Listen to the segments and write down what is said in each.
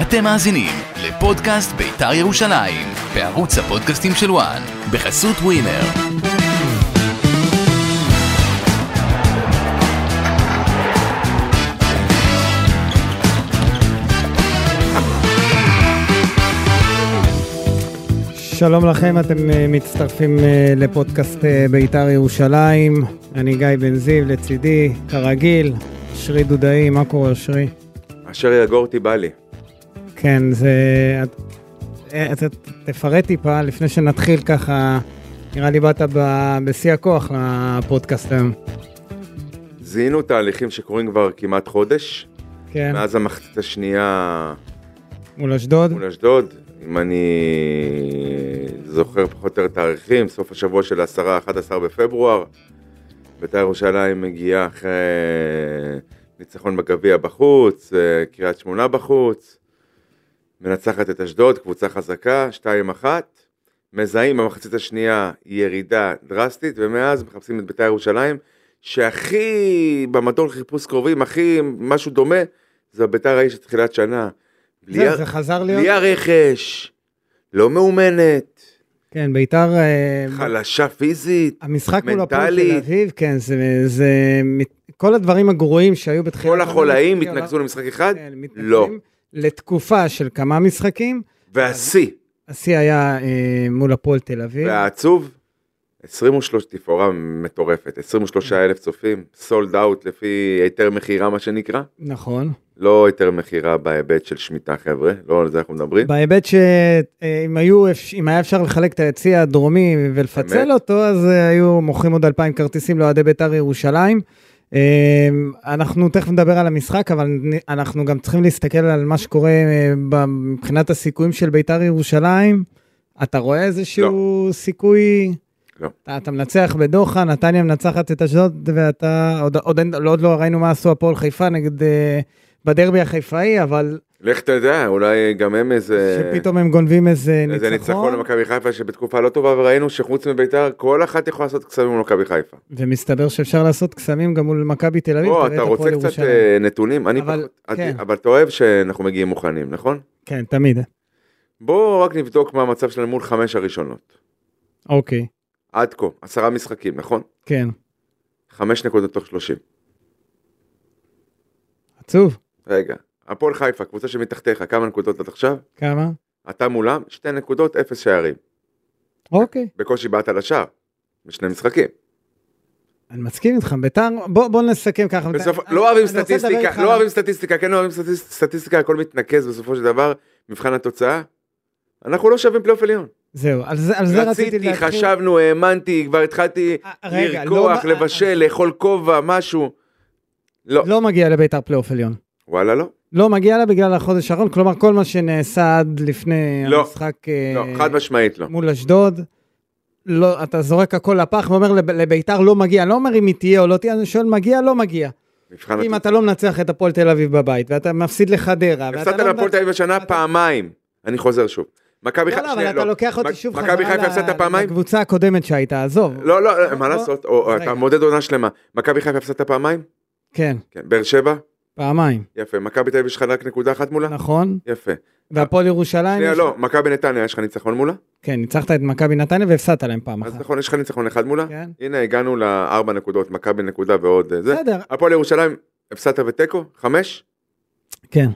אתם מאזינים לפודקאסט בית"ר ירושלים, בערוץ הפודקאסטים של וואן, בחסות ווינר. שלום לכם, אתם אה, מצטרפים אה, לפודקאסט אה, בית"ר ירושלים. אני גיא בן זיו, לצידי, כרגיל, אשרי דודאי, מה קורה אשרי? אשר יגורתי בא לי. כן, זה... את- אה, את- את- תפרט טיפה לפני שנתחיל ככה, נראה לי באת ב- בשיא הכוח לפודקאסט היום. זיהינו תהליכים שקורים כבר כמעט חודש, כן, מאז המחצית השנייה מול אשדוד. מול אשדוד, אם אני זוכר פחות או יותר תאריכים, סוף השבוע של 10-11 בפברואר, בית"ר ירושלים מגיעה אחרי ניצחון בגביע בחוץ, אה, קריית שמונה בחוץ, מנצחת את אשדוד, קבוצה חזקה, 2-1, מזהים במחצית השנייה ירידה דרסטית, ומאז מחפשים את בית"ר ירושלים, שהכי במדור חיפוש קרובים, הכי משהו דומה, זה בית"ר האיש של תחילת שנה. בלי זהו, הר- זה חזר בלי להיות... הרכש, לא מאומנת, כן, בית"ר... אה, חלשה פיזית, המשחק מול הפועל מנטלית. תל אביב, כן, זה- זה... מת- כל הדברים הגרועים שהיו בתחילת... כל החולאים העונה, התנקזו למשחק אחד, לא כן, מתנגדים לא. לתקופה של כמה משחקים. והשיא, כן. השיא היה אה, מול הפועל תל אביב. והעצוב, 23, תפאורה מטורפת, 23 אלף צופים, סולד אאוט לפי היתר מכירה מה שנקרא, נכון. לא היתר מכירה בהיבט של שמיטה חבר'ה, לא על זה אנחנו מדברים, בהיבט שאם היו, אפ- אם היה אפשר לחלק את היציע הדרומי ולפצל אמת. אותו, אז אה, היו מוכרים עוד 2,000 כרטיסים לאוהדי בית"ר ירושלים. אה, אנחנו תכף נדבר על המשחק, אבל נ- אנחנו גם צריכים להסתכל על מה שקורה אה, ב- מבחינת הסיכויים של בית"ר ירושלים. אתה רואה איזשהו סיכוי? לא. אתה, אתה מנצח בדוחה, נתניה מנצחת את אשדוד, ואתה, עוד, עוד, אין- לא- עוד לא ראינו מה עשו הפועל חיפה נגד, אה, בדרבי החיפאי, אבל לך תדע, אולי גם הם איזה... שפתאום הם גונבים איזה איזה ניצחון ניצחון, למכבי חיפה שבתקופה לא טובה וראינו שחוץ מביתר כל אחת יכולה לעשות קסמים מול מכבי חיפה. ומסתבר שאפשר לעשות קסמים גם מול מכבי תל אביב, או, תראה אתה את רוצה הפועל קצת ירושלים. אה, נתונים? אני אבל, פחות... את- כן. אבל אתה אוהב שאנחנו מגיעים מוכנים, נכון? כן, תמיד, בואו רק נבדוק מה המצב שלנו מול חמש הראשונות. אוקיי, עד כה, עשרה משחקים, נכון? כן, חמש נקודות תוך שלושים. עצוב, רגע, הפועל חיפה, קבוצה שמתחתיך, כמה נקודות עד עכשיו? כמה? אתה מולם, שתי נקודות, אפס שערים. אוקיי, בקושי באת לשער, בשני משחקים. כן, אני מסכים איתך, ביתר, בוא, בוא נסכם ככה. בסוף, אני- לא אוהבים אני רוצה לדבר סטטיסטיקה, איתך על- לא אוהבים סטטיסטיקה, כן אוהבים סטטיס- סטטיסטיקה, הכל מתנקז בסופו של דבר, מבחן התוצאה. אנחנו לא שווים פלייאוף עליון. זהו, על זה, על זה רציתי רציתי, להתחיל. חשבנו, האמנתי, כבר התחלתי אה, רגע, לרקוח, לא- לבשל, לאכול כובע, משהו. לא, לא מגיע לביתר פלייאוף עליון. וואלה לא. לא מגיע לה בגלל החודש האחרון, כלומר כל מה שנעשה עד לפני לא, המשחק אה, לא, חד משמעית לא. מול אשדוד, לא, אתה זורק הכל לפח ואומר "לב- לביתר לא מגיע, אני לא אומר אם היא תהיה או לא תהיה, אני שואל מגיע, לא מגיע. מבחן אם התוצאה. אתה לא מנצח את הפועל תל אביב בבית, ואתה מפסיד לחדרה, ואתה הפסדת לא להפועל תל אביב השנה אתה- פעמיים. אני חוזר שוב. לא, מכבי חיפה, לא, אבל שנייה, אתה לא. לוקח אותי מכ- שוב מכבי חיפה חזרה הפסדת פעמיים? לקבוצה הקודמת שהייתה, עזוב. לא, לא, מה לא. לעשות, או- או רגע. אתה מודד עונה שלמה. מכבי חיפה הפסדת פעמיים? כן, כן. באר שבע? פעמיים, יפה. מכבי תל אביב יש לך רק נקודה אחת מולה? נכון? יפה. והפועל ירושלים, לא. אה. שנייה, יש- לא, מכבי נתניה יש לך ניצחון מולה? כן, ניצחת את מכבי נתניה והפסדת להם פעם אז אחת. נכון, יש לך ניצחון אחד מולה? כן. הנה, הגענו לארבע נקודות, מכבי נקודה ועוד אה, זה. בסדר, הפועל ירושלים, הפסדת ותיקו? חמש? כן.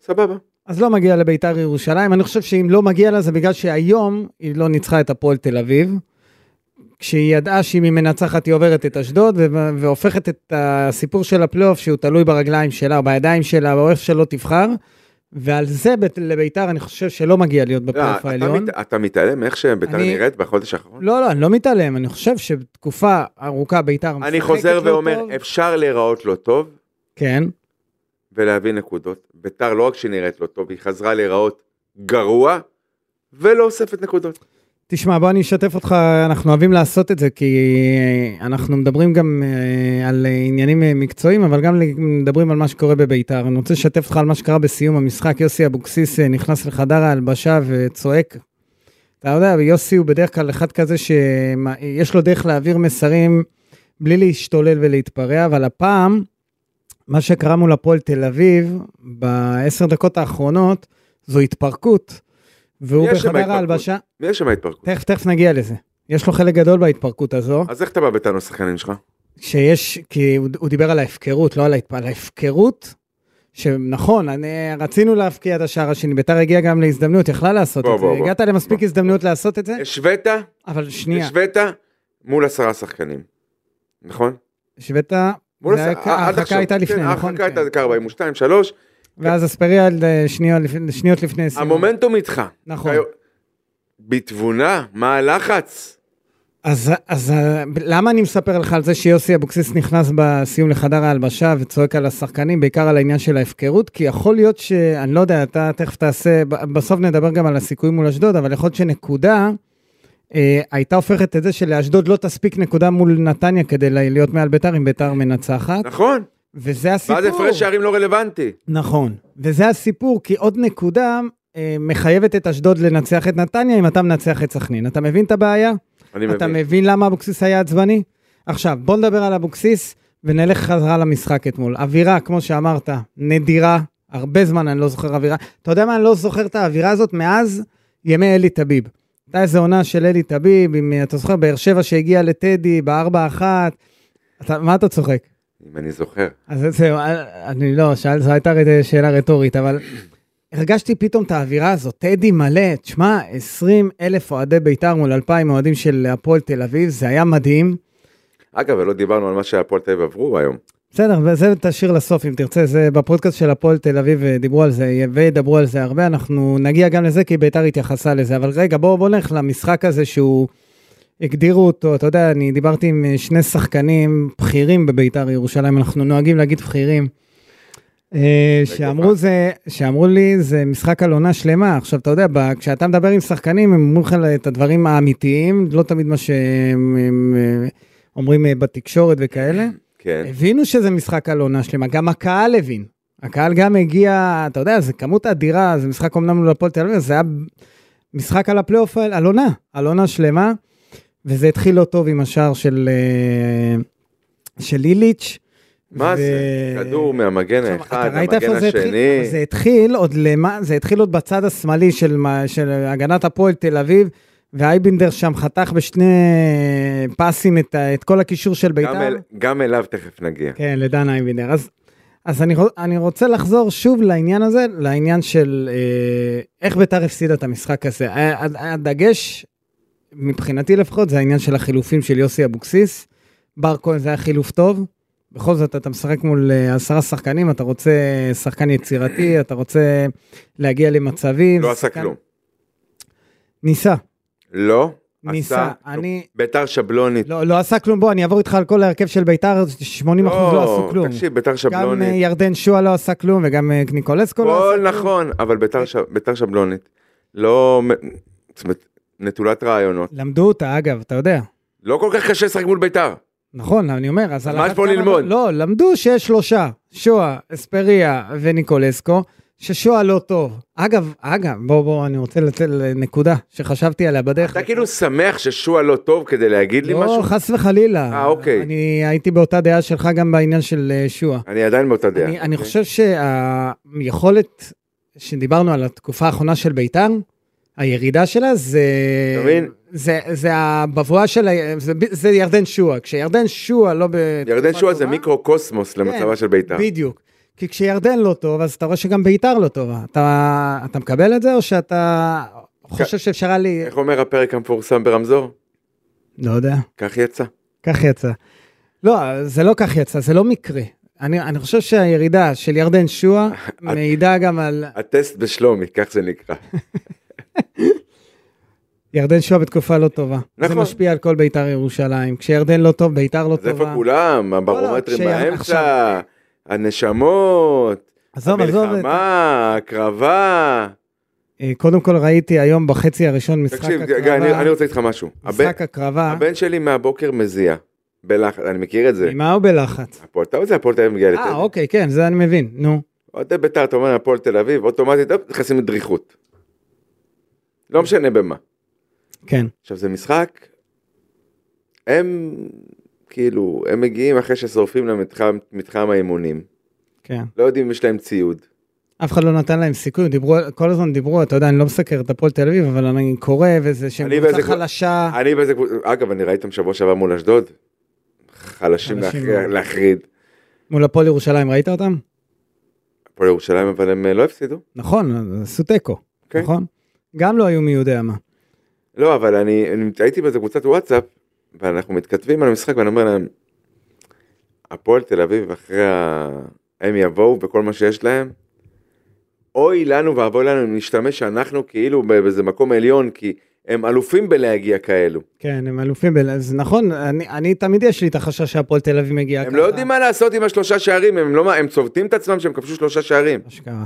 סבבה. אז לא מגיע לביתר ירושלים, אני חושב שאם לא מגיע לה זה בגלל שהיום היא לא ניצחה את הפועל תל אביב. כשהיא ידעה שאם היא מנצחת היא עוברת את אשדוד ו- והופכת את הסיפור של הפלייאוף שהוא תלוי ברגליים שלה, בידיים שלה, או איך שלא תבחר. ועל זה בית- לביתר אני חושב שלא מגיע להיות לא, בפלייאוף אתה העליון. מת- אתה מתעלם מאיך שביתר אני- נראית בחודש האחרון? לא, לא, אני לא מתעלם, אני חושב שבתקופה ארוכה ביתר משחקת אני חוזר לא ואומר, טוב. אפשר להיראות לא טוב כן, ולהביא נקודות. ביתר לא רק שהיא נראית לא טוב, היא חזרה להיראות גרוע ולא אוספת נקודות. תשמע, בוא אני אשתף אותך, אנחנו אוהבים לעשות את זה, כי אה, אנחנו מדברים גם אה, על אה, עניינים אה, מקצועיים, אבל גם מדברים על מה שקורה בביתר. אני רוצה לשתף אותך על מה שקרה בסיום המשחק. יוסי אבוקסיס אה, נכנס לחדר ההלבשה וצועק. אתה יודע, יוסי הוא בדרך כלל אחד כזה שיש לו דרך להעביר מסרים בלי להשתולל ולהתפרע, אבל הפעם מה שקרה מול הפועל תל אביב בעשר דקות האחרונות זו התפרקות. והוא יש שם בחדר התפרקות. ההלבשה, מי יש שם ההתפרקות? תכף תכף נגיע לזה. יש לו חלק גדול בהתפרקות הזו, אז איך אתה בא בטענות לשחקנים שלך? אה, שיש, כי הוא, הוא דיבר על ההפקרות, לא על ההתפ... על ההפקרות, שנכון, אני, רצינו להפקיע את השער השני, ביתר הגיעה גם להזדמנות, יכלה לעשות בוא, את זה. בוא, בוא. הגעת למספיק בוא. הזדמנויות לעשות את זה, השווית, אבל שנייה, השווית מול עשרה שחקנים, נכון? השווית, מול זה עשרה- היה- עד ההרחקה עכשיו. הייתה לפני, כן, נכון? ההרחקה הייתה כן. דקה 42, 3, ואז אספריה על, אה, שניות לפני- שניות לפני סיום. המומנטום איתך. נכון. בתבונה, מה הלחץ? אז, אז אה, למה אני מספר לך על זה שיוסי אבוקסיס נכנס בסיום לחדר ההלבשה וצועק על השחקנים, בעיקר על העניין של ההפקרות? כי יכול להיות ש... אני לא יודע, אתה תכף תעשה... ב- בסוף נדבר גם על הסיכויים מול אשדוד, אבל יכול להיות שנקודה אה, הייתה הופכת את זה שלאשדוד לא תספיק נקודה מול נתניה כדי ל- להיות מעל ביתר אם ביתר מנצחת. נכון. וזה הסיפור. ואז הפרש שערים לא רלוונטי. נכון, וזה הסיפור, כי עוד נקודה אה, מחייבת את אשדוד לנצח את נתניה אם אתה מנצח את סכנין. אתה מבין את הבעיה? אני אתה מבין. מבין למה אבוקסיס היה עצבני? עכשיו, בוא נדבר על אבוקסיס ונלך חזרה למשחק אתמול. אווירה, כמו שאמרת, נדירה, הרבה זמן אני לא זוכר אווירה. אתה יודע מה, אני לא זוכר את האווירה הזאת מאז ימי אלי טביב. הייתה איזו עונה של אלי טביב, אם אתה זוכר, באר שבע שהגיע לטדי בארבע אחת. אתה, מה אתה צוחק? אם אני זוכר. אז זהו, אני לא, שאל, זו הייתה רד- שאלה רטורית, אבל הרגשתי פתאום את האווירה הזאת, טדי מלא, תשמע, 20 אלף אוהדי בית"ר מול 2,000 אוהדים של הפועל תל אביב, זה היה מדהים. אגב, לא דיברנו על מה שהפועל תל אביב עברו היום. בסדר, וזה תשאיר לסוף אם תרצה, זה בפודקאסט של הפועל תל אביב אה, דיברו על זה וידברו על זה הרבה, אנחנו נגיע גם לזה כי ביתר התייחסה לזה, אבל רגע בואו בוא נלך למשחק הזה שהוא, הגדירו אותו, אתה יודע, אני דיברתי עם אה, שני שחקנים בכירים בביתר ירושלים, אנחנו נוהגים להגיד בכירים, אה, שאמרו, זה, שאמרו לי זה משחק על עונה שלמה, עכשיו אתה יודע, ב- כשאתה מדבר עם שחקנים הם אומרים לך את הדברים האמיתיים, לא תמיד מה שהם הם, אה, אומרים אה, בתקשורת וכאלה. כן. הבינו שזה משחק על עונה שלמה, גם הקהל הבין. הקהל גם הגיע, אתה יודע, זה כמות אדירה, זה משחק אומנם מול הפועל תל אביב, זה היה משחק על הפלייאוף, על על עונה, על עונה שלמה, וזה התחיל לא טוב עם השער של, אה, של איליץ'. מה זה? כדור מהמגן עכשיו, האחד, אתה ראית המגן איפה זה התחיל? אבל זה השני. התחיל עוד למה, זה התחיל עוד בצד השמאלי של, מה- של הגנת הפועל תל אביב, ואייבינדר שם חתך בשני אה, פסים את, ה- את כל הקישור של בית"ר. גם אל- גם אליו תכף נגיע. לא כן, לדן אייבינדר. אז, אז אני, רוצ- אני רוצה לחזור שוב לעניין הזה, לעניין של אה, איך ביתר הפסידה את המשחק הזה. ה- ה- הדגש, מבחינתי לפחות, זה העניין של החילופים של יוסי אבוקסיס. בר כהן זה היה חילוף טוב. בכל זאת, אתה משחק מול אה, עשרה שחקנים, אתה רוצה שחקן יצירתי, אתה רוצה להגיע למצבים. לא עשה שחקן- כלום. ניסה, לא ניסה. עשה כלום. אני... ביתר שבלונית. לא, לא עשה כלום, בוא, אני אעבור איתך על כל ההרכב של ביתר, 80% לא עשו כלום. תקשיב, ביתר גם אה, שבלונית. ירדן שועה לא עשה כלום, וגם אה, ניקולסקו לא עשה כל כלום. נכון, אבל ביתר ש- ביתר שבלונית. לא... מ- זאת אומרת, נטולת רעיונות. למדו אותה, אגב, אתה יודע. לא כל כך קשה לשחק מול ביתר. נכון, אני אומר, אז... על מה אחת יש פה כמה- ללמוד? לא, למדו שיש שלושה, שועה, אספריה וניקולסקו, ששועה לא טוב. אגב, אגב, בוא, בוא, אני רוצה לתת נקודה שחשבתי עליה בדרך. אתה כאילו שמח ששועה לא טוב כדי להגיד לי לא, משהו? חס וחלילה. אה, אוקיי. אני הייתי באותה דעה שלך גם בעניין של אה, שועה. אני עדיין באותה דעה. אני, אני אוקיי? חושב שהיכולת שדיברנו על התקופה האחרונה של ביתר, הירידה שלה זה... אתה מבין? זה, זה הבבואה של... ה- זה, ב- זה ירדן שועה. כשירדן שועה לא בתקופה ירדן שועה זה טובה- כן, מיקרו-קוסמוס למצבה של ביתר. בדיוק. כי כשירדן לא טוב, אז אתה רואה שגם ביתר לא טובה. אתה, אתה מקבל את זה, או שאתה כן. חושב שאפשר היה לי... איך אומר הפרק המפורסם ברמזור? לא יודע. כך יצא. כך יצא. לא, זה לא כך יצא, זה לא מקרה. אני, אני חושב שהירידה של ירדן שועה מעידה גם על... הטסט בשלומי, כך זה נקרא. ירדן שועה בתקופה לא טובה. נכון. זה משפיע על כל בית"ר ירושלים. כשירדן לא טוב, בית"ר לא אז איפה טובה. כולם? הברומטרים כשיר- באמצע, עכשיו- הנשמות, עזוב, עזוב. את- המלחמה, הקרבה. אה, קודם כל ראיתי היום בחצי הראשון משחק תקשיב, גיא, אני- אני הקרבה. רוצה להגיד לך משהו. הבן- משחק הקרבה. הבן שלי מהבוקר מזיע. בלחץ, אני מכיר את זה. ממה הוא בלחץ? הפועל תל אביב זה הפועל תל אביב מגיע לתל אה, אביב. אוקיי, כן, זה אני מבין. נו. אוהדי בית"ר, אתה אומר הפועל תל אביב, אוטומטית, הופ, נכנסים לדריכות. לא משנה במה. כן. עכשיו זה משחק, הם כאילו, הם מגיעים אחרי ששורפים למתחם מתחם האימונים. כן. לא יודעים אם יש להם ציוד. אף אחד לא נתן להם סיכוי, דיברו, כל הזמן דיברו, אתה יודע, אני לא מסקר את הפועל תל אביב, אבל אני קורא וזה שהם אני קבוצה באיזה- חלשה. אני באיזה קבוצה, אגב, אני ראיתם שבוע שעבר מול אשדוד, חלשים חלשים להחריד- מאוד. להחריד. מול הפועל ירושלים, ראית אותם? הפועל ירושלים, אבל הם אה, לא הפסידו. נכון, אז עשו תיקו, כן. נכון? גם לא היו מי יודע מה. לא, אבל אני אני הייתי באיזה קבוצת וואטסאפ, ואנחנו מתכתבים על המשחק, ואני אומר להם, הפועל תל אביב אחרי ה... הם יבואו וכל מה שיש להם, אוי לנו ואבוי לנו אם נשתמש שאנחנו כאילו באיזה מקום עליון, כי הם אלופים בלהגיע כאלו. כן, הם אלופים, בל- אז נכון, אני, אני תמיד יש לי את החשש שהפועל תל אביב מגיעה הם לא יודעים מה לעשות עם השלושה שערים, הם, לא, הם צובטים את עצמם שהם כבשו שלושה שערים. אשכרה.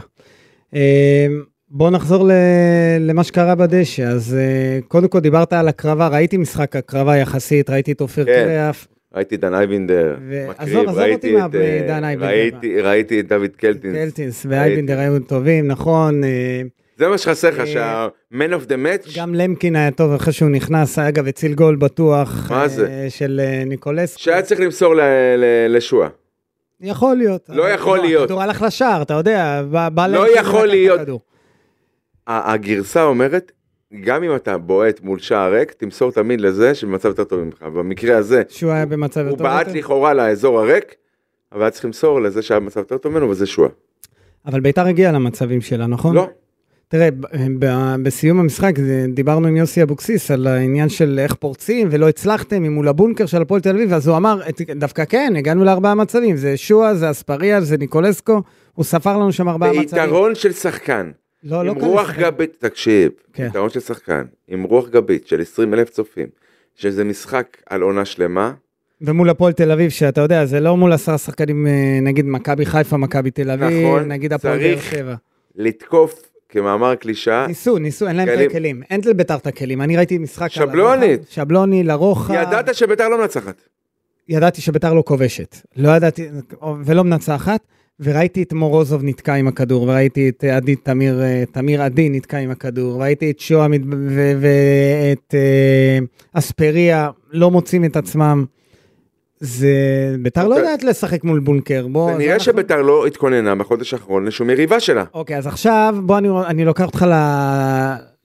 אה, בוא נחזור ל- למה שקרה בדשא, אז אה, קודם כל דיברת על הקרבה, ראיתי משחק הקרבה יחסית, ראיתי את אופיר כן. קריאף, ראיתי את דן אייבינדר, ו- מקריב, עזוב, עזוב ראיתי אותי את, מה- אה, דן אייבינדר. ראיתי- ראיתי את דוד קלטינס. קלטינס ואייבינדר היו טובים, נכון, אה, זה מה שחסר לך, אה, שה-man of the match, גם למקין היה טוב אחרי שהוא נכנס, אגב הציל גול בטוח, מה אה, זה? של אה, ניקולסקו, שהיה צריך למסור ל- ל- לשועה. יכול להיות, לא אבל יכול להיות. הכדור הלך לשער, אתה יודע, בא- בא לא למקין יכול ולקח את להיות. הכדור. ה- הגרסה אומרת, גם אם אתה בועט מול שער ריק, תמסור תמיד לזה שבמצב יותר טוב ממך. במקרה הזה, שהוא היה במצב הוא יותר בעט יותר. לכאורה לאזור הריק, אבל היה צריך למסור לזה שהיה במצב יותר טוב ממנו, וזה שועה. אבל ביתר הגיעה למצבים שלה, נכון? לא, תראה, ב- ב- בסיום המשחק זה- דיברנו עם יוסי אבוקסיס על העניין של איך פורצים ולא הצלחתם עם מול הבונקר של הפועל תל אביב, אז הוא אמר, "את- דווקא כן, הגענו לארבעה מצבים, זה שועה, זה אספריה, זה ניקולסקו, הוא ספר לנו שם ארבעה מצבים. ביתרון של שחקן. לא, לא עם קל רוח לשחק. גבית, תקשיב, כן. יתרון של שחקן, עם רוח גבית של 20 אלף צופים, שזה משחק על עונה שלמה, ומול הפועל תל אביב, שאתה יודע, זה לא מול עשרה שחקנים, אה, נגיד מכבי חיפה, מכבי תל אביב, נכון, נגיד הפועל באר צריך. שבע. לתקוף כמאמר קלישאה, ניסו, ניסו, אין להם את כלים. הכלים. אין לביתר את הכלים, אני ראיתי משחק על שבלונית. הרוחב, שבלוני, לרוחב. ידעת שביתר לא מנצחת. ידעתי שביתר לא כובשת, לא ידעתי, ולא מנצחת, וראיתי את מורוזוב נתקע עם הכדור, וראיתי את עדי תמיר, אה, תמיר עדי נתקע עם הכדור, ראיתי את שואה מת- ו- ואת אה, אספריה לא מוצאים את עצמם. זה, ביתר לא אוקיי. יודעת לשחק מול בונקר, בוא... נכון, זה ונראה אנחנו- שביתר לא התכוננה בחודש האחרון לשום יריבה שלה. אוקיי, אז עכשיו, בוא, אני, אני לוקח אותך ל...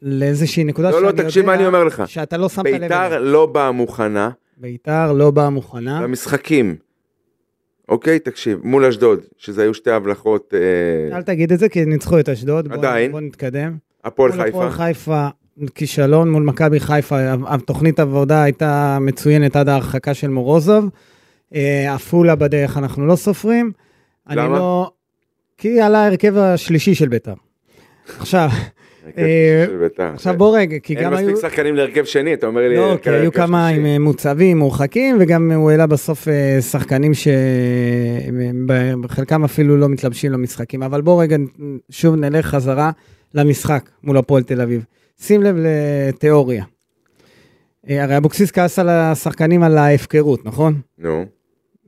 לאיזושהי נקודה לא, לא, תקשיב מה אני אומר לך. שאתה לא שמת לב. ביתר אליה. לא באה מוכנה ביתר לא באה מוכנה. למשחקים. אוקיי, תקשיב, מול אשדוד, שזה היו שתי הבלחות, אה, אל תגיד את זה, כי ניצחו את אשדוד. בוא- עדיין. בוא נתקדם. הפועל מול הפועל חיפה. חיפה, כישלון מול מכבי חיפה, התוכנית עבודה הייתה מצוינת עד ההרחקה של מורוזוב. אה, עפולה בדרך אנחנו לא סופרים. אני למה? לא... כי עלה ההרכב השלישי של ביתר. עכשיו, אה, של ביתר. עכשיו בוא רגע, כי אין גם היו... מספיק שחקנים להרכב שני, אתה אומר לי... לא, כי היו הרכב כמה שלישי. עם אה, מוצבים, מורחקים, וגם הוא העלה בסוף אה, שחקנים שבחלקם אפילו לא מתלבשים למשחקים. אבל בואו רגע, נ- שוב נלך חזרה למשחק מול הפועל תל אביב. שים לב לתיאוריה. אה, הרי אבוקסיס כעס על השחקנים על ההפקרות, נכון? נו.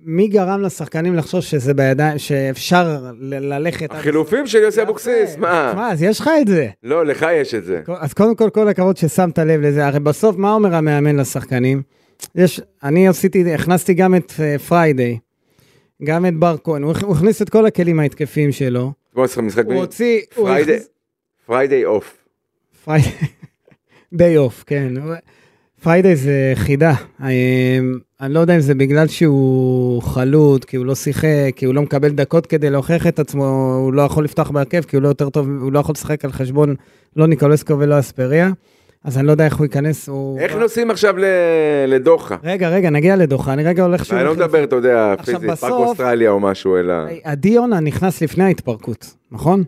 מי גרם לשחקנים לחשוב שזה בידיים, שאפשר ל- ללכת... עד- החילופים של יוסי יפה. אבוקסיס, מה? שמע, אז יש לך את זה. לא, לך יש את זה. אז קודם כל, כל הכבוד ששמת לב לזה. הרי בסוף, מה אומר המאמן לשחקנים? יש, אני עשיתי, הכנסתי גם את אה, פריידי, גם את בר כהן, הוא הכ- הוא הכניס את כל הכלים ההתקפיים שלו. בוא נשחק משחק הוא מי? הוציא, הוא פריידי. הכניס- פריידיי אוף. פריידי, די אוף, כן. פריידי זה חידה. אה, אני לא יודע אם זה בגלל שהוא חלוד, כי הוא לא שיחק, כי הוא לא מקבל דקות כדי להוכיח את עצמו, הוא לא יכול לפתוח בהרכב, כי הוא לא יותר טוב, הוא לא יכול לשחק על חשבון לא ניקולסקו ולא אספריה, אז אני לא יודע איך הוא ייכנס. הוא... איך לא- נוסעים עכשיו ל- לדוחה? רגע, רגע, נגיע לדוחה, אני רגע הולך שוב. אני לא מדבר, אתה יודע, עכשיו, פיזית, פארק בסוף- אוסטרליה או משהו, אלא... היי, עדי יונה נכנס לפני ההתפרקות, נכון?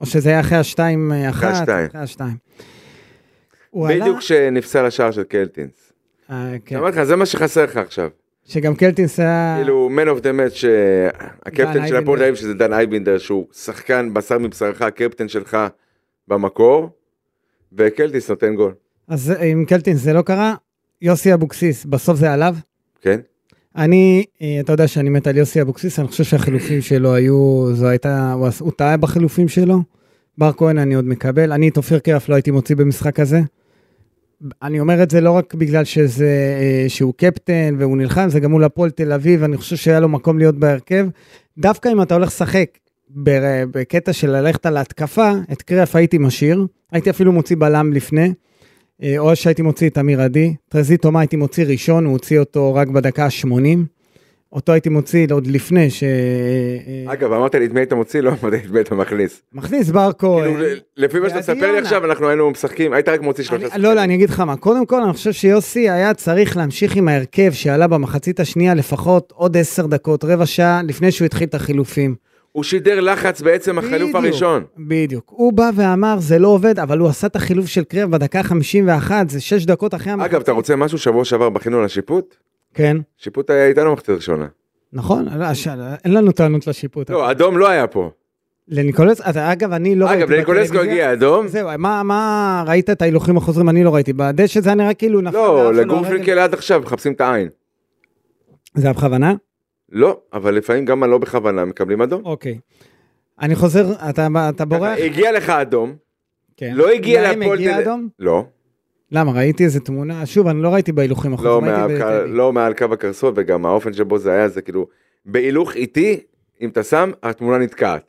או שזה היה אחרי השתיים אה, אחת? אחרי השתיים. אחרי השתיים. הוא עלה- בדיוק כשנפסל השער של קלטינס. אה, כן. אמרתי לך, זה מה שחסר לך עכשיו. שגם קלטינס היה... כאילו, man of the match, אה, הקפטן של אייבינדר. הפועל תל אביב, שזה דן אייבינדר, שהוא שחקן בשר מבשרך, הקפטן שלך במקור, וקלטינס נותן גול, אז עם קלטינס זה לא קרה, יוסי אבוקסיס, בסוף זה עליו. כן? אני, אה, אתה יודע שאני מת על יוסי אבוקסיס, אני חושב שהחילופים שלו היו, זו הייתה, הוא עש- הוא טעה בחילופים שלו. בר כהן אני עוד מקבל, אני את אופיר קריאף לא הייתי מוציא במשחק הזה. אני אומר את זה לא רק בגלל שזה, אה, שהוא קפטן והוא נלחם, זה גם מול הפועל תל אביב, אני חושב שהיה לו מקום להיות בהרכב. דווקא אם אתה הולך לשחק בר- בקטע של ללכת על ההתקפה, את קריאף הייתי משאיר, הייתי אפילו מוציא בלם לפני, אה, או שהייתי מוציא את אמיר עדי, טרזיטו מה הייתי מוציא ראשון, הוא הוציא אותו רק בדקה ה-80, אותו הייתי מוציא עוד לפני ש... אה, אה, אגב, אמרת לי את מי היית מוציא? לא אמרתי את מי היית מכניס. מכניס בר כהן. כאילו, ל- לפי מה שאתה ועדי מספר לי יונה. עכשיו, אנחנו היינו משחקים, היית רק מוציא שלושה אני, לא, לא, אני אגיד לך מה. קודם כל, אני חושב שיוסי היה צריך להמשיך עם ההרכב שעלה במחצית השנייה לפחות עוד עשר דקות, רבע שעה, לפני שהוא התחיל את החילופים. הוא שידר לחץ בעצם החילוף בדיוק, הראשון. בדיוק. הוא בא ואמר, זה לא עובד, אבל הוא עשה את החילוף של קרב בדקה ה-51, זה שש דקות אחרי המחצית. אגב, אתה רוצה משהו שבוע שעבר בכינו על השיפוט? כן, שיפוט היה איתנו מחצית ראשונה. נכון, לא, השאל- אין לנו טענות לשיפוט. לא, אדום לא היה פה. לניקולסקו, אתה- אגב, אני לא אגב, לניקולסקו בטלוויזיה. הגיע אדום. זהו, מה, מה, ראית את ההילוכים החוזרים? אני לא ראיתי. בדשא זה היה נראה כאילו נפל. לאף לא, שלו הרגל. לגורפינקל עד עכשיו מחפשים את העין. נכון. זה היה בכוונה? לא, אבל לפעמים גם הלא בכוונה מקבלים אדום. אוקיי. אני חוזר, אתה, אתה בורח? הגיע לך אדום, כן. אה, לא הגיע להם להפועל הגיע תל- אדום? לא, לא למה, ראיתי איזה תמונה, שוב, אני לא ראיתי בהילוכים החוזרים, מעל ראיתי קו- בטדי. לא מעל קו הקרסול וגם האופן שבו זה היה זה כאילו בהילוך איטי, אם אתה שם, התמונה נתקעת.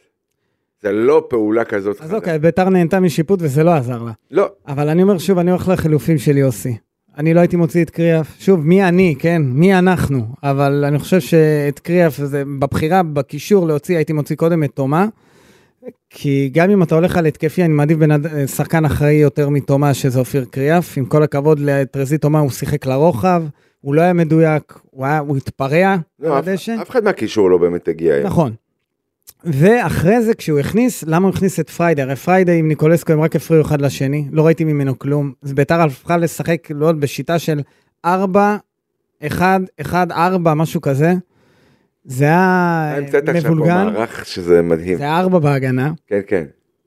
זה לא פעולה כזאת. אז חדה. אוקיי, ביתר נהנתה משיפוט וזה לא עזר לה. לא, אבל אני אומר שוב, אני הולך לחילופים של יוסי. אני לא הייתי מוציא את קריאף, שוב, מי אני, כן, מי אנחנו, אבל אני חושב שאת קריאף, זה בבחירה, בקישור להוציא, הייתי מוציא קודם את תומה, כי גם אם אתה הולך על התקפי, אני מעדיף בן, אד- שחקן אחראי יותר מתומה, שזה אופיר קריאף, עם כל הכבוד לטרזי תומה, הוא שיחק לרוחב, הוא לא היה מדויק, הוא, היה, הוא התפרע על לא, אף- הדשא. אף אחד מהקישור לא באמת הגיע היום. נכון. ואחרי זה כשהוא הכניס, למה הוא הכניס את פריידי? הרי פריידי עם ניקולסקו הם רק הפריעו אחד לשני, לא ראיתי ממנו כלום. אז ביתר הפכה לשחק לא בשיטה של 4, 1, 1, 4, משהו כזה. זה היה אתה המצאת עכשיו פה מבולגן, מערך שזה מדהים. זה היה 4 בהגנה. כן, כן.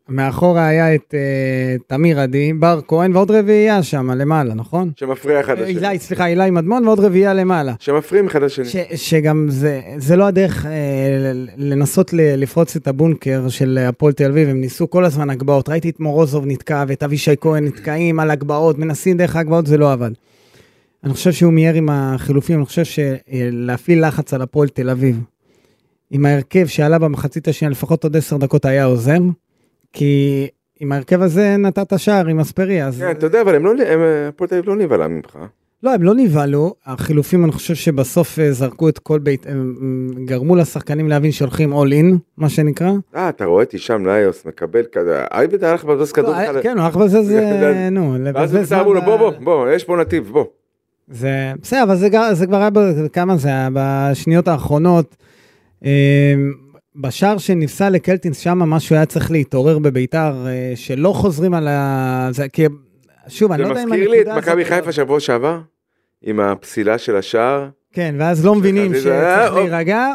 מאחורה היה את אה, תמיר עדי, בר כהן ועוד רביעייה שם למעלה, נכון? שמפריע אחד לשני. אילי, סליחה, אילי מדמון ועוד רביעייה למעלה. שמפריעים אחד לשני. ש, שגם זה, זה לא הדרך אה, ל- לנסות ל, לפרוץ את הבונקר של הפועל תל אביב, הם ניסו כל הזמן הגבהות, ראיתי את מורוזוב נתקע ואת אבישי כהן נתקעים על הגבהות, מנסים דרך ההגבהות, זה לא עבד. אני חושב שהוא מיהר עם החילופים, אני חושב שלהפעיל לחץ על הפועל תל אביב, עם ההרכב שעלה במחצית השנייה לפחות עוד עשר דקות היה עוזר, כי עם ההרכב הזה נתת שער עם אספריה, אז כן, אתה יודע, אבל הם לא, הם, אה, הפועל תל אביב לא נבהלה ממך. לא, הם לא נבהלו, החילופים, אני חושב שבסוף אה, זרקו את כל בית, הם הם גרמו לשחקנים להבין שהולכים all in, מה שנקרא. אה, אתה רואה את הישאם ליוס מקבל כזה, אייבד הלך לבזבז כדור לא, אחד. כן, הוא הלך בזה, זה, זה- נו, ואז לבזבז בית"ר זמן. אה." אמרו לו, ב- בוא, בוא, בוא, יש פה נתיב, בוא. זה, בסדר, אבל זה, גר- זה כבר היה, ב- כמה זה היה, בשניות האחרונות. אה, בשער שנפסל לקלטינס, שם משהו היה צריך להתעורר בביתר, אה, שלא חוזרים על ה... זה, כי, שוב, אני זה לא יודע אם מזכיר לי את הנקודה הזאת... מכבי חיפה שבוע שעבר, עם הפסילה של השער. כן, ואז לא מבינים שחזיזה- אה, שצריך אופ. להירגע.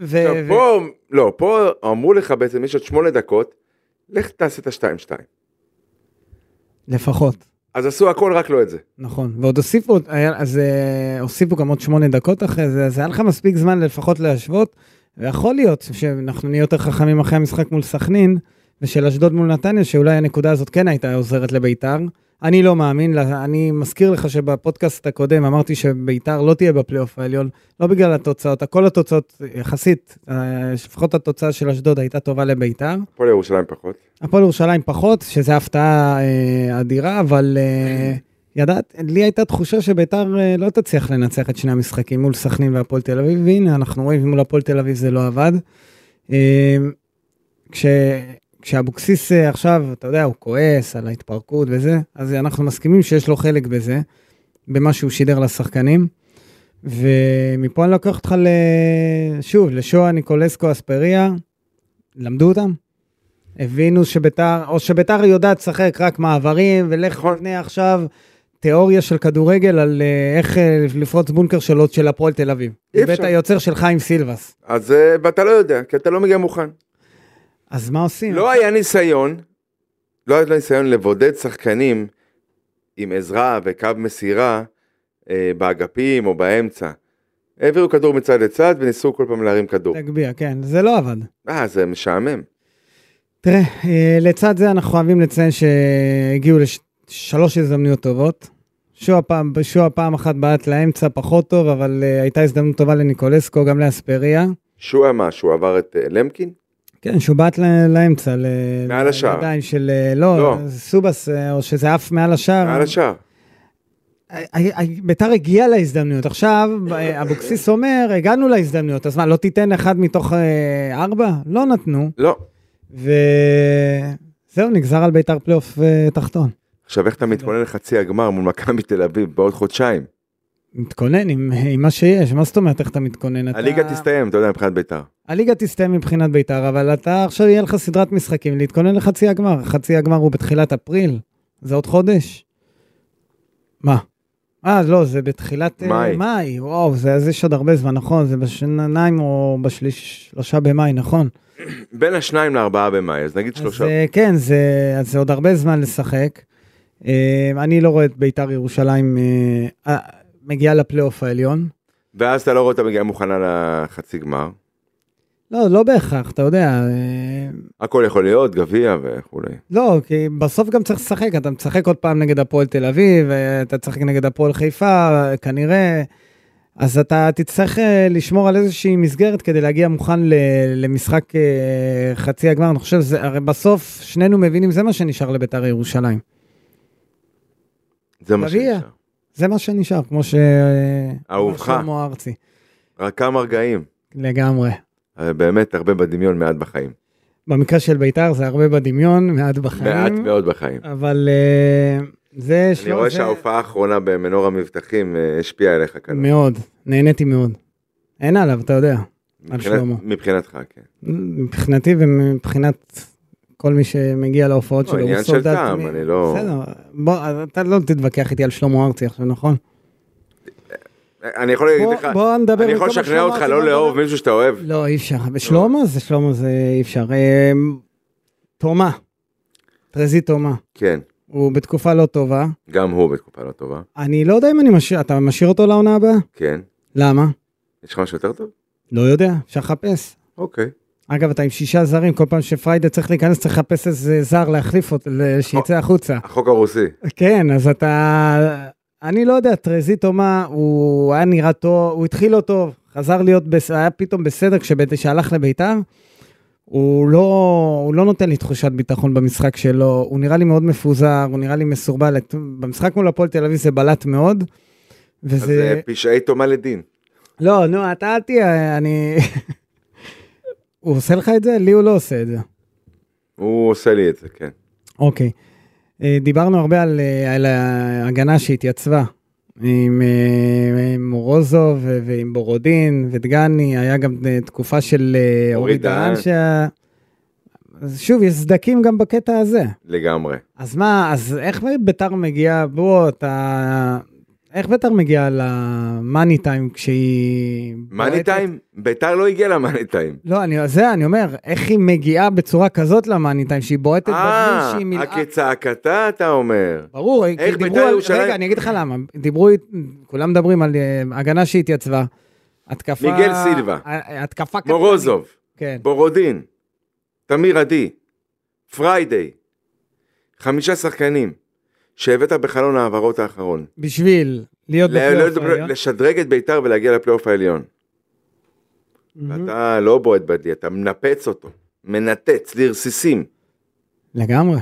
ו- עכשיו ו- פה, לא, פה אמרו לך בעצם, יש עוד שמונה דקות, לך תעשה את השתיים-שתיים. לפחות. אז עשו הכל, רק לא את זה. נכון, ועוד הוסיפו, היה- אז אה, הוסיפו גם עוד שמונה דקות אחרי זה, אז היה לך מספיק זמן לפחות להשוות, ויכול להיות שאנחנו נהיה יותר חכמים אחרי המשחק מול סכנין, ושל אשדוד מול נתניה, שאולי הנקודה הזאת כן הייתה עוזרת לביתר. אני לא מאמין, לה- אני מזכיר לך שבפודקאסט הקודם אמרתי שביתר לא תהיה בפלייאוף העליון, לא בגלל התוצאות, כל התוצאות יחסית, אה, לפחות התוצאה של אשדוד הייתה טובה לביתר. הפועל ירושלים פחות. הפועל ירושלים פחות, שזה הפתעה אה, אדירה, אבל אה, ידעת, לי הייתה תחושה שביתר אה, לא תצליח לנצח את שני המשחקים מול סכנין והפועל תל אביב, והנה אנחנו רואים מול הפועל תל אביב זה לא עבד. אה, כש, כשאבוקסיס אה, עכשיו, אתה יודע, הוא כועס על ההתפרקות וזה, אז אנחנו מסכימים שיש לו חלק בזה, במה שהוא שידר לשחקנים. ומפה אני לוקח אותך ל... שוב, לשואה, ניקולסקו, אספריה, למדו אותם? הבינו שביתר, או שביתר יודעת לשחק רק מעברים, ולך נכון. נבנה עכשיו תיאוריה של כדורגל על אה, איך אה, לפרוץ בונקר שלו של הפועל תל אביב. אי בית אפשר. היוצר של חיים סילבס. אז אה, ואתה לא יודע, כי אתה לא מגיע מוכן. אז מה עושים? לא היה ניסיון, לא היה ניסיון לבודד שחקנים עם עזרה וקו מסירה אה, באגפים או באמצע. העבירו כדור מצד לצד וניסו כל פעם להרים כדור. תגביה, כן, זה לא עבד. אה, זה משעמם. תראה, אה, לצד זה אנחנו אוהבים לציין שהגיעו לש... שלוש הזדמנויות טובות. שוע פעם, שוע פעם אחת בעט לאמצע פחות טוב, אבל uh, הייתה הזדמנות טובה לניקולסקו, גם לאספריה. שועה מה, שהוא עבר את אה, למקין? כן, שהוא בעט ל- לאמצע. ל... מעל השער. לידיים של, אה, לא, לא. סובס, אה, או שזה עף מעל השער. אה, על השער. ה- ה- ה- ביתר הגיעה להזדמנויות. עכשיו, אה, אבוקסיס אומר, הגענו להזדמנויות, אז מה, לא תיתן אחד מתוך אה, ארבע? לא נתנו, לא. וזהו, נגזר על ביתר פלייאוף אה, תחתון. עכשיו, איך אתה מתכונן לחצי הגמר מול מכבי תל אביב בעוד חודשיים? מתכונן עם, עם מה שיש, מה זאת אומרת איך אתה מתכונן? אתה- הליגה תסתיים, אתה יודע, מבחינת ביתר. הליגה תסתיים מבחינת ביתר, אבל אתה עכשיו יהיה לך סדרת משחקים להתכונן לחצי הגמר. חצי הגמר הוא בתחילת אפריל, זה עוד חודש. מה? אה, לא, זה בתחילת אה, מאי. מאי, וואו, זה, אז יש עוד הרבה זמן, נכון? זה בשניים או בשליש, שלושה במאי, נכון? בין השניים לארבעה במאי, אז נגיד אז שלושה. אה, כן, זה, אז זה עוד הרבה זמן לשחק. אה, אני לא רואה את ביתר ירושלים אה, אה, מגיעה לפלייאוף העליון. ואז אתה לא רואה אותה מגיעה מוכנה לחצי גמר. לא, לא בהכרח, אתה יודע. אה, הכל יכול להיות, גביע וכולי. לא, כי בסוף גם צריך לשחק, אתה משחק עוד פעם נגד הפועל תל אביב, אה, אתה תשחק נגד הפועל חיפה, אה, כנראה. אז אתה תצטרך אה, לשמור על איזושהי מסגרת כדי להגיע מוכן ל- למשחק אה, חצי הגמר. אני חושב, זה, הרי בסוף שנינו מבינים, זה מה שנשאר לביתר ירושלים. זה מה גביע. שנשאר. זה מה שנשאר, כמו ש... אהובך. אמר שלמה ארצי, רק אה, כמה רגעים. לגמרי. אבל באמת, הרבה בדמיון, מעט בחיים. במקרה של ביתר זה הרבה בדמיון, מעט בחיים. מעט מאוד בחיים. אבל אה, זה... אני שלו- רואה זה- שההופעה האחרונה במנור המבטחים אה, השפיעה עליך כאן. מאוד, נהניתי מאוד. אין עליו, אתה יודע. שלמה. מבחינתך, כן. מבחינתי ומבחינת כל מי שמגיע להופעות לא, שלו, הוא עניין של sold out טעם, מ- אני לא- בסדר, בוא, אתה לא תתווכח איתי על שלמה ארצי עכשיו, נכון? אה, אני יכול להגיד בוא- לך, בוא נדבר... אני יכול במקום על לשכנע שלמה אותך ארצי, לא בוא לאהוב נדבר- מישהו שאתה אוהב. לא, אי אפשר. בשלמה זה, שלמה זה אי אפשר. אה, תומה, טרזי תומה, כן, הוא בתקופה לא טובה. גם הוא בתקופה לא טובה. אני לא יודע אם אני משאיר, אתה משאיר אותו לעונה הבאה? כן. למה? יש לך משהו יותר טוב? לא יודע, אפשר לחפש. אוקיי. אגב, אתה עם שישה זרים, כל פעם שפריידה צריך להיכנס, צריך לחפש איזה זר להחליף אותו, ל- שיצא החוצה. החוק הרוסי. כן, אז אתה... אני לא יודע, טרזיטו מה, הוא היה נראה טוב, הוא התחיל לא טוב, חזר להיות, בס... היה פתאום בסדר כשבית- כשהלך לביתר. הוא לא, הוא לא נותן לי תחושת ביטחון במשחק שלו, הוא נראה לי מאוד מפוזר, הוא נראה לי מסורבל. את- במשחק מול הפועל תל אביב זה בלט מאוד. אז אה, זה וזה... פשעי תומה לדין. לא, נו, אתה אל תהיה, אני... הוא עושה לך את זה? לי הוא לא עושה את זה. הוא עושה לי את זה, כן. אוקיי. אה, דיברנו הרבה על, אה, על ההגנה שהתייצבה עם, אה, עם מורוזוב ו- ועם בורודין ודגני, היה גם אה, תקופה של אה, אורי אורי דהן. דהן. שה... אז שוב, יש סדקים גם בקטע הזה. לגמרי. אז מה, אז איך ביתר מגיעה, בוא, אתה... איך ביתר מגיעה למאני טיים כשהיא... מאני בועטת? טיים? ביתר לא הגיע למאני טיים. לא, אני, זה אני אומר, איך היא מגיעה בצורה כזאת למאני טיים, שהיא בועטת בגלל אה, שהיא מילאה... כצעקתה אתה אומר. ברור, איך כי דיברו בית"ר על... ירושלים- רגע, אני אגיד לך למה. דיברו, כולם מדברים על אה, הגנה שהתייצבה. התקפה... מיגל סילבה. אה, התקפה קטנית. מורוזוב, כן. בורודין, תמיר עדי, פריידי, חמישה שחקנים שהבאת בחלון ההעברות האחרון. בשביל להיות ל- בפלייאוף לא- העליון. לשדרג את ביתר ולהגיע לפלייאוף העליון. מהמם. ואתה לא בועט בדלי, אתה מנפץ אותו, מנתץ לרסיסים. לגמרי.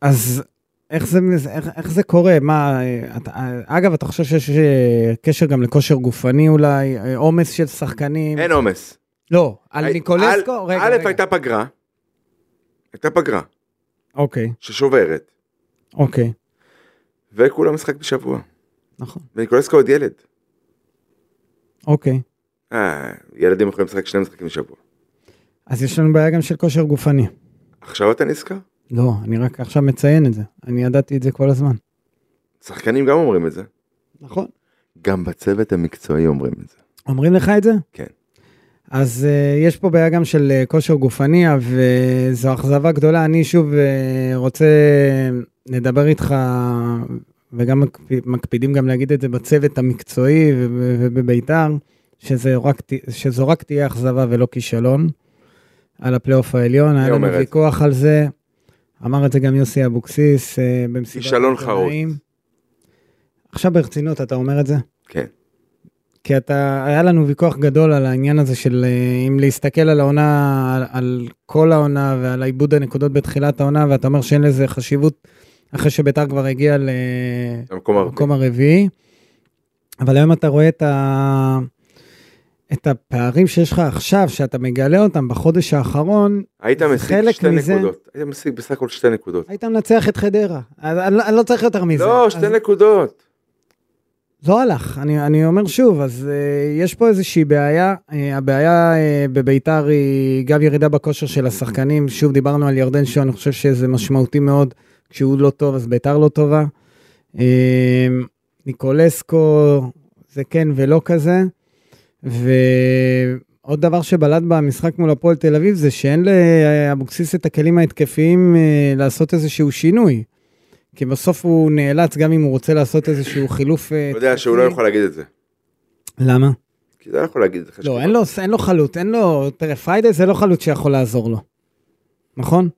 אז איך זה, איך, איך זה קורה? מה, אה, אתה, אה, אגב, אתה חושב שיש אה, קשר גם לכושר גופני אולי? אה, עומס של שחקנים? אין עומס. לא, על הי- ניקולסקו? א', רגע, א', רגע. הייתה פגרה, הייתה פגרה אוקיי, ששוברת, אוקיי, וכולם משחק בשבוע, נכון. וניקולסקו עוד ילד. אוקיי. אה, ילדים יכולים לשחק שני משחקים בשבוע. אז יש לנו בעיה גם של כושר גופני. עכשיו אתה נזכר? לא, אני רק עכשיו מציין את זה. אני ידעתי את זה כל הזמן. שחקנים גם אומרים את זה. נכון. גם בצוות המקצועי אומרים את זה. אומרים לך את זה? כן. אז uh, יש פה בעיה גם של uh, כושר גופני, וזו אכזבה גדולה. אני שוב uh, רוצה אה, לדבר איתך, וגם מקפ- מקפידים גם להגיד את זה בצוות המקצועי וב- ובביתר, שזה רק, ת- שזו רק תהיה אכזבה ולא כישלון על הפלייאוף העליון. היה לנו אומר את זה. ויכוח על זה. אמר את זה גם יוסי אבוקסיס אה, במסיבת כישלון חרוץ. עיתונאים. עכשיו ברצינות אתה אומר את זה? כן. כי אתה, היה לנו ויכוח גדול על העניין הזה של אה, אם להסתכל על העונה, על, על כל העונה ועל עיבוד הנקודות בתחילת העונה, ואתה אומר שאין לזה חשיבות אחרי שביתר כבר הגיעה ל- המקום הרביעי. למקום הרביעי. אבל היום אתה רואה את, ה... את הפערים שיש לך עכשיו, שאתה מגלה אותם בחודש האחרון, היית משיג חלק שתי מזה- נקודות. היית משיג בסך הכל שתי נקודות. היית מנצח את חדרה. אז אני לא- אני לא צריך יותר מזה. לא, אז שתי נקודות. לא הלך, אני, אני אומר שוב, אז uh, יש פה איזושהי בעיה, uh, הבעיה uh, בביתר היא גם ירידה בכושר של השחקנים, שוב דיברנו על ירדן שואה, אני חושב שזה משמעותי מאוד, כשהוא לא טוב אז ביתר לא טובה. Uh, ניקולסקו זה כן ולא כזה, ועוד דבר שבלט במשחק מול הפועל תל אביב זה שאין לאבוקסיס את הכלים ההתקפיים uh, לעשות איזשהו שינוי. כי בסוף הוא נאלץ, גם אם הוא רוצה לעשות איזשהו חילוף... אה, אתה יודע שהוא לא יכול להגיד את זה. למה? כי אתה לא יכול להגיד את זה. לא, אין לו, אין לו חלוץ, אין לו... תראה, פריידי זה לא חלוץ שיכול לעזור לו, נכון?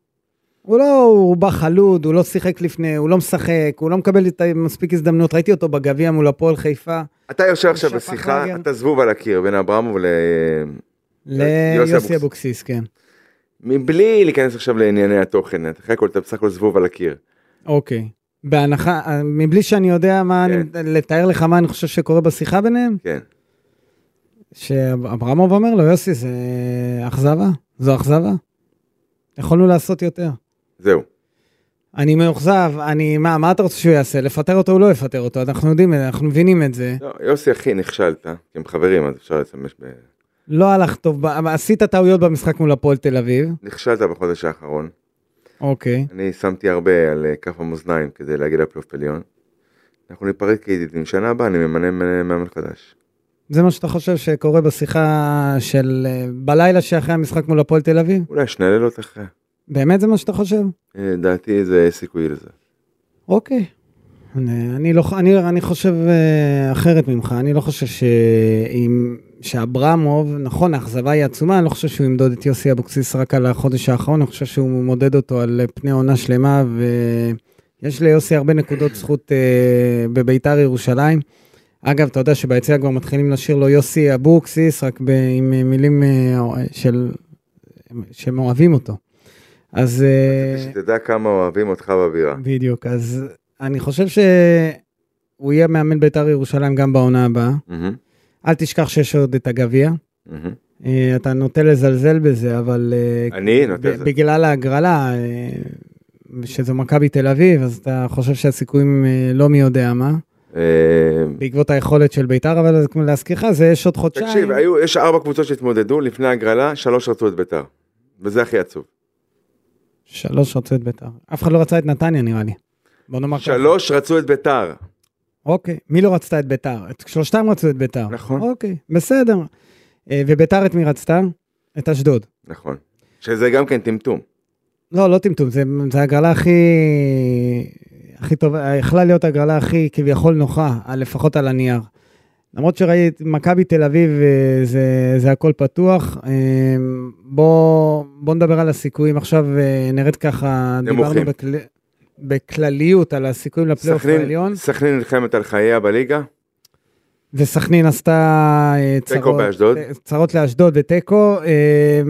הוא לא, הוא בא חלוד, הוא לא שיחק לפני, הוא לא משחק, הוא לא מקבל את ה- מספיק הזדמנות. ראיתי אותו בגביע מול הפועל חיפה. אתה יושב עכשיו שפך בשיחה, לגר. אתה זבוב על הקיר בין אברמוב ל... ליוסי אבוקסיס. אבוקסיס, כן. מבלי להיכנס עכשיו לענייני התוכן. אתה- אחרי הכל אתה בסך הכל זבוב על הקיר. אוקיי. בהנחה, מבלי שאני יודע מה, אני- לתאר לך מה אני חושב שקורה בשיחה ביניהם, כן. שאברמוב אומר לו, יוסי, זה אכזבה? זו אכזבה? יכולנו לעשות יותר. זהו. אני מאוכזב, אני, מה, מה אתה רוצה שהוא יעשה? לפטר אותו, הוא לא יפטר אותו, אנחנו יודעים, את זה, אנחנו מבינים את זה. לא, יוסי אחי נכשלת, כי הם חברים אז אפשר לשמש ב... לא הלך טוב, ב- אבל עשית טעויות במשחק מול הפועל תל אביב, נכשלת בחודש האחרון. אוקיי. אני שמתי הרבה על אה, כף המאזניים כדי להגיע לפלייאוף עליון. אנחנו ניפרד כידידים, שנה הבאה אני ממנה מ- אה, מאמן חדש. זה מה שאתה חושב שקורה בשיחה של אה, בלילה שאחרי המשחק מול הפועל תל אביב? אולי שני לילות אחרי. באמת זה מה שאתה חושב? אה, דעתי זה יש סיכוי לזה. אוקיי. אני, אני, לא, ח- אני, אני חושב אה, אחרת ממך, אני לא חושב שאם, שאברמוב, נכון, האכזבה היא עצומה, אני לא חושב שהוא ימדוד את יוסי אבוקסיס רק על החודש האחרון, אני חושב שהוא מודד אותו על אה, פני עונה שלמה, ויש ליוסי הרבה נקודות זכות אה, בביתר ירושלים. אגב, אתה יודע שביציע כבר מתחילים לשיר לו יוסי אבוקסיס, רק ב, עם אה, מילים אה, של, שהם אוהבים אותו. אז... אה, שתדע כמה אוהבים אותך בבירה. בדיוק, אז אני חושב שהוא יהיה מאמן בית"ר ירושלים גם בעונה הבאה. מהמם, אל תשכח שיש עוד את הגביע. מהמם. אה, אתה נוטה לזלזל בזה, אבל אה, אני ב- נותן את זה. בגלל ההגרלה, אה, שזו מכבי תל אביב, אז אתה חושב שהסיכויים אה, לא מי יודע מה. אה, בעקבות היכולת של בית"ר, אבל אז כמו להזכירך, זה יש עוד חודשיים. תקשיב, היו- יש ארבע קבוצות שהתמודדו לפני הגרלה, שלוש רצו את ביתר. וזה הכי עצוב. שלוש רצו את בית"ר. אף אחד לא רצה את נתניה, נראה לי. בוא נאמר ככה. שלוש רצו את ביתר. אוקיי, מי לא רצתה את ביתר? את שלושתם רצו את ביתר. נכון. אוקיי, בסדר. אה, וביתר את מי רצתה? את אשדוד. נכון. שזה גם כן טמטום. לא, לא טמטום, זה, זה הגרלה הכי... הכי טובה, יכלה להיות הגרלה הכי כביכול נוחה, על- לפחות על הנייר. למרות שראית, מכבי תל אביב אה, זה, זה הכל פתוח. אה, בוא, בוא נדבר על הסיכויים עכשיו, אה, נרד ככה, נמוכים. דיברנו בכל... בכלליות על הסיכויים לפלייאוף סכנין- העליון, סכנין נלחמת על חייה בליגה. וסכנין עשתה אה, תיקו צרות, באשדוד. צרות לאשדוד ותיקו. אה,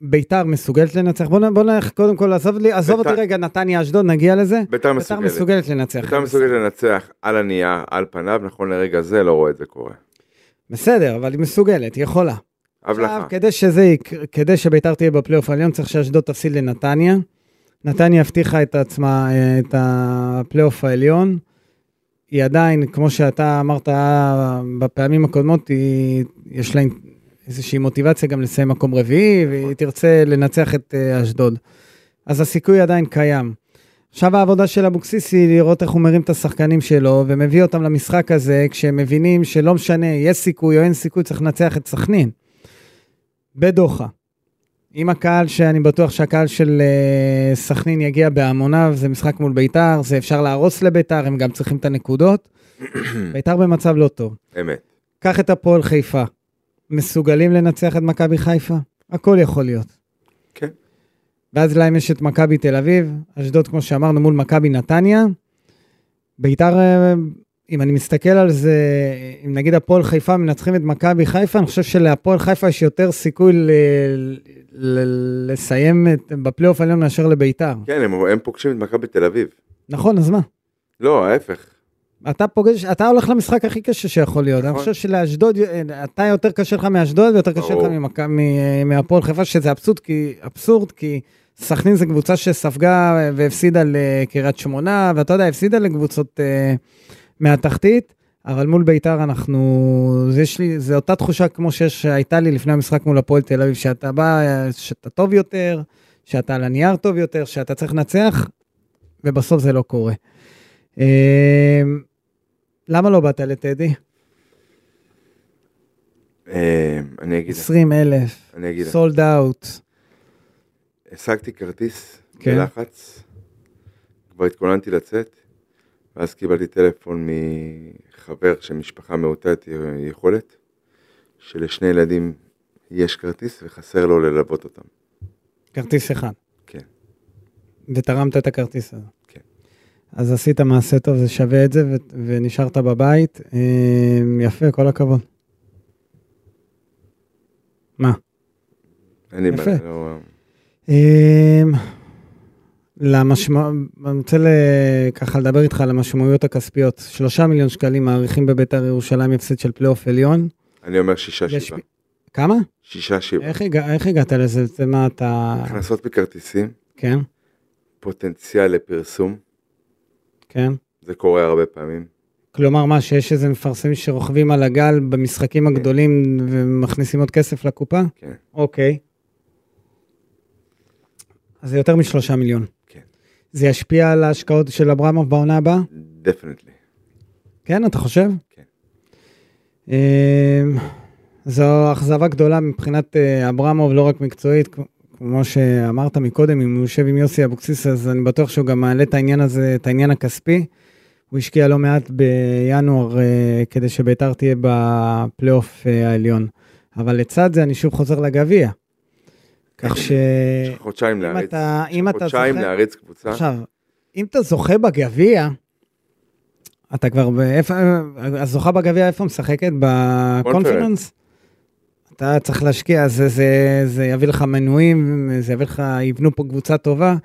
ביתר מסוגלת לנצח. בוא, נ- בוא נלך קודם כל, עזוב, לי, עזוב ביתר- אותי רגע, נתניה, אשדוד, נגיע לזה. ביתר ביתר מסוגלת. מסוגלת לנצח. אתה מסוגל לנצח על הנייר, על פניו, נכון לרגע זה לא רואה את זה קורה. בסדר, אבל היא מסוגלת, היא יכולה. עכשיו, הבלחה. כדי שזה יקרה, כדי שביתר תהיה בפלייאוף העליון, צריך שאשדוד תפסיד לנתניה. נתניה הבטיחה את עצמה, אה, את הפלייאוף העליון. היא עדיין, כמו שאתה אמרת אה, בפעמים הקודמות, היא, יש לה איזושהי מוטיבציה גם לסיים מקום רביעי, והיא תרצה לנצח את אה, אשדוד. אז הסיכוי עדיין קיים. עכשיו העבודה של אבוקסיס היא לראות איך הוא מרים את השחקנים שלו ומביא אותם למשחק הזה, כשהם מבינים שלא משנה, יש סיכוי או אין סיכוי, צריך לנצח את סכנין. בדוחה. עם הקהל שאני בטוח שהקהל של אה, סכנין יגיע בהמוניו, זה משחק מול ביתר, זה אפשר להרוס לביתר, הם גם צריכים את הנקודות. ביתר במצב לא טוב. אמת. קח את הפועל חיפה. מסוגלים לנצח את מכבי חיפה? הכל יכול להיות. כן. ואז להם יש את מכבי תל אביב, אשדוד, כמו שאמרנו, מול מכבי נתניה. ביתר, אה, אם אני מסתכל על זה, אם נגיד הפועל חיפה מנצחים את מכבי חיפה, אני חושב שלהפועל חיפה יש יותר סיכוי ל- ל- לסיים את- בפלייאוף העליון מאשר לביתר. כן, הם, הם פוגשים את מכבי תל אביב. נכון, אז מה? לא, ההפך. אתה פוגש, אתה הולך למשחק הכי קשה שיכול להיות. אני נכון. חושב שלאשדוד, אה, אתה יותר קשה לך מאשדוד ויותר קשה לך ברור. ממכ- מ- מהפועל חיפה, שזה אבסורד כי, אבסורד, כי סכנין זו קבוצה שספגה אה, והפסידה לקריית שמונה, ואתה יודע, הפסידה לקבוצות אה, מהתחתית, אבל מול ביתר אנחנו, זה יש לי, זה אותה תחושה כמו שיש- שהייתה לי לפני המשחק מול הפועל תל אביב, שאתה בא, אה, שאתה טוב יותר, שאתה על הנייר טוב יותר, שאתה צריך לנצח, ובסוף זה לא קורה. אה, למה לא באת לטדי? אה, אני אגיד לך, 20 אלף, אני אגיד לך. סולד אאוט. השגתי כרטיס כן. בלחץ, כבר התכוננתי לצאת, ואז קיבלתי טלפון מחבר של משפחה מעוטת יכולת, שלשני ילדים יש כרטיס וחסר לו ללוות אותם. כרטיס אחד. כן. ותרמת את הכרטיס הזה. כן. אז עשית מעשה טוב, זה שווה את זה, ו- ונשארת בבית. אה, יפה, כל הכבוד. מה? אין לי יפה. בעיה, לא... אה, למשמע... אני רוצה ל- ככה לדבר איתך על המשמעויות הכספיות. שלושה מיליון שקלים מעריכים בביתר ירושלים הפסד של פלייאוף עליון. אני אומר שישה יש- שבעה. כמה? שישה שבעה. איך, הגע... איך הגעת לזה? זה מה אתה... הכנסות מכרטיסים, כן, פוטנציאל לפרסום, כן. זה קורה הרבה פעמים. כלומר מה, שיש איזה מפרסמים שרוכבים על הגל במשחקים הגדולים ומכניסים עוד כסף לקופה? כן. אוקיי. אז זה יותר משלושה מיליון. כן. זה ישפיע על ההשקעות של אברמוב בעונה הבאה? אה, דפנטלי. כן, אתה חושב? כן. אמ, זו אכזבה גדולה מבחינת אה, אברמוב, לא רק מקצועית, כמו- כמו שאמרת מקודם, אם הוא יושב עם יוסי אבוקסיס, אז אני בטוח שהוא גם מעלה את העניין הזה, את העניין הכספי. הוא השקיע לא מעט בינואר אה, כדי שביתר תהיה בפלייאוף אה, העליון. אבל לצד זה אני שוב חוזר לגביע. כך ש... יש לך חודשיים אם להריץ. אתה, אם אתה כן. חודשיים זוכר... להריץ קבוצה. עכשיו, אם אתה זוכה בגביע, אתה כבר באיפה, הזוכה בגביע איפה משחקת? בקונפרנס? אתה צריך להשקיע, זה, זה, זה יביא לך מנויים, זה יביא לך, יבנו פה קבוצה טובה.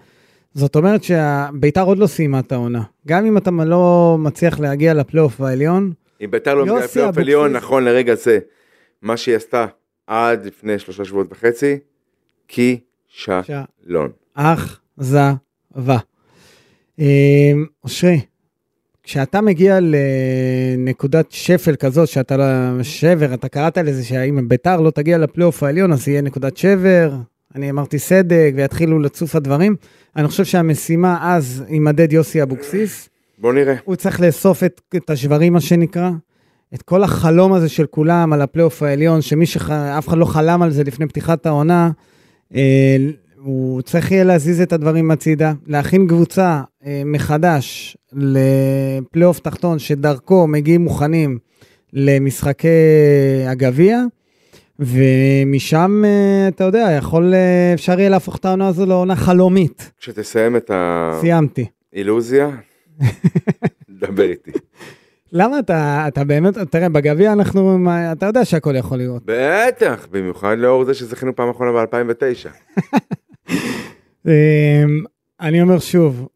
זאת אומרת שביתר עוד לא סיימה את העונה. גם אם אתה לא מצליח להגיע לפלייאוף העליון, אם ביתר לא מגיעה יוסי לפלייאוף אבוקסיס. עליון, נכון לרגע זה, מה שהיא עשתה עד לפני שלושה שבועות וחצי, כישלון. אכזבה. אמ, אושרי, כשאתה מגיע לנקודת שפל כזאת, שאתה לא... שבר, אתה קראת לזה שאם ביתר לא תגיע לפלייאוף העליון, אז יהיה נקודת שבר, אני אמרתי סדק, ויתחילו לצוף הדברים. אני חושב שהמשימה אז, יימדד יוסי אבוקסיס, בוא נראה. הוא צריך לאסוף את, את השברים, מה שנקרא, את כל החלום הזה של כולם על הפלייאוף העליון, שמי שאף אחד לא חלם על זה לפני פתיחת העונה, אה, הוא צריך יהיה להזיז את הדברים הצידה, להכין קבוצה אה, מחדש לפלייאוף תחתון, שדרכו מגיעים מוכנים למשחקי הגביע. ומשם, אה, אתה יודע, יכול, אה, אפשר יהיה להפוך את העונה הזו לעונה חלומית. כשתסיים את סיימתי. האילוזיה, דבר איתי. למה אתה, אתה באמת, תראה, בגביע אנחנו, אתה יודע שהכל יכול להיות. בטח, במיוחד לאור זה שזכינו פעם אחרונה ב-2009. לא אמ, אני אומר שוב,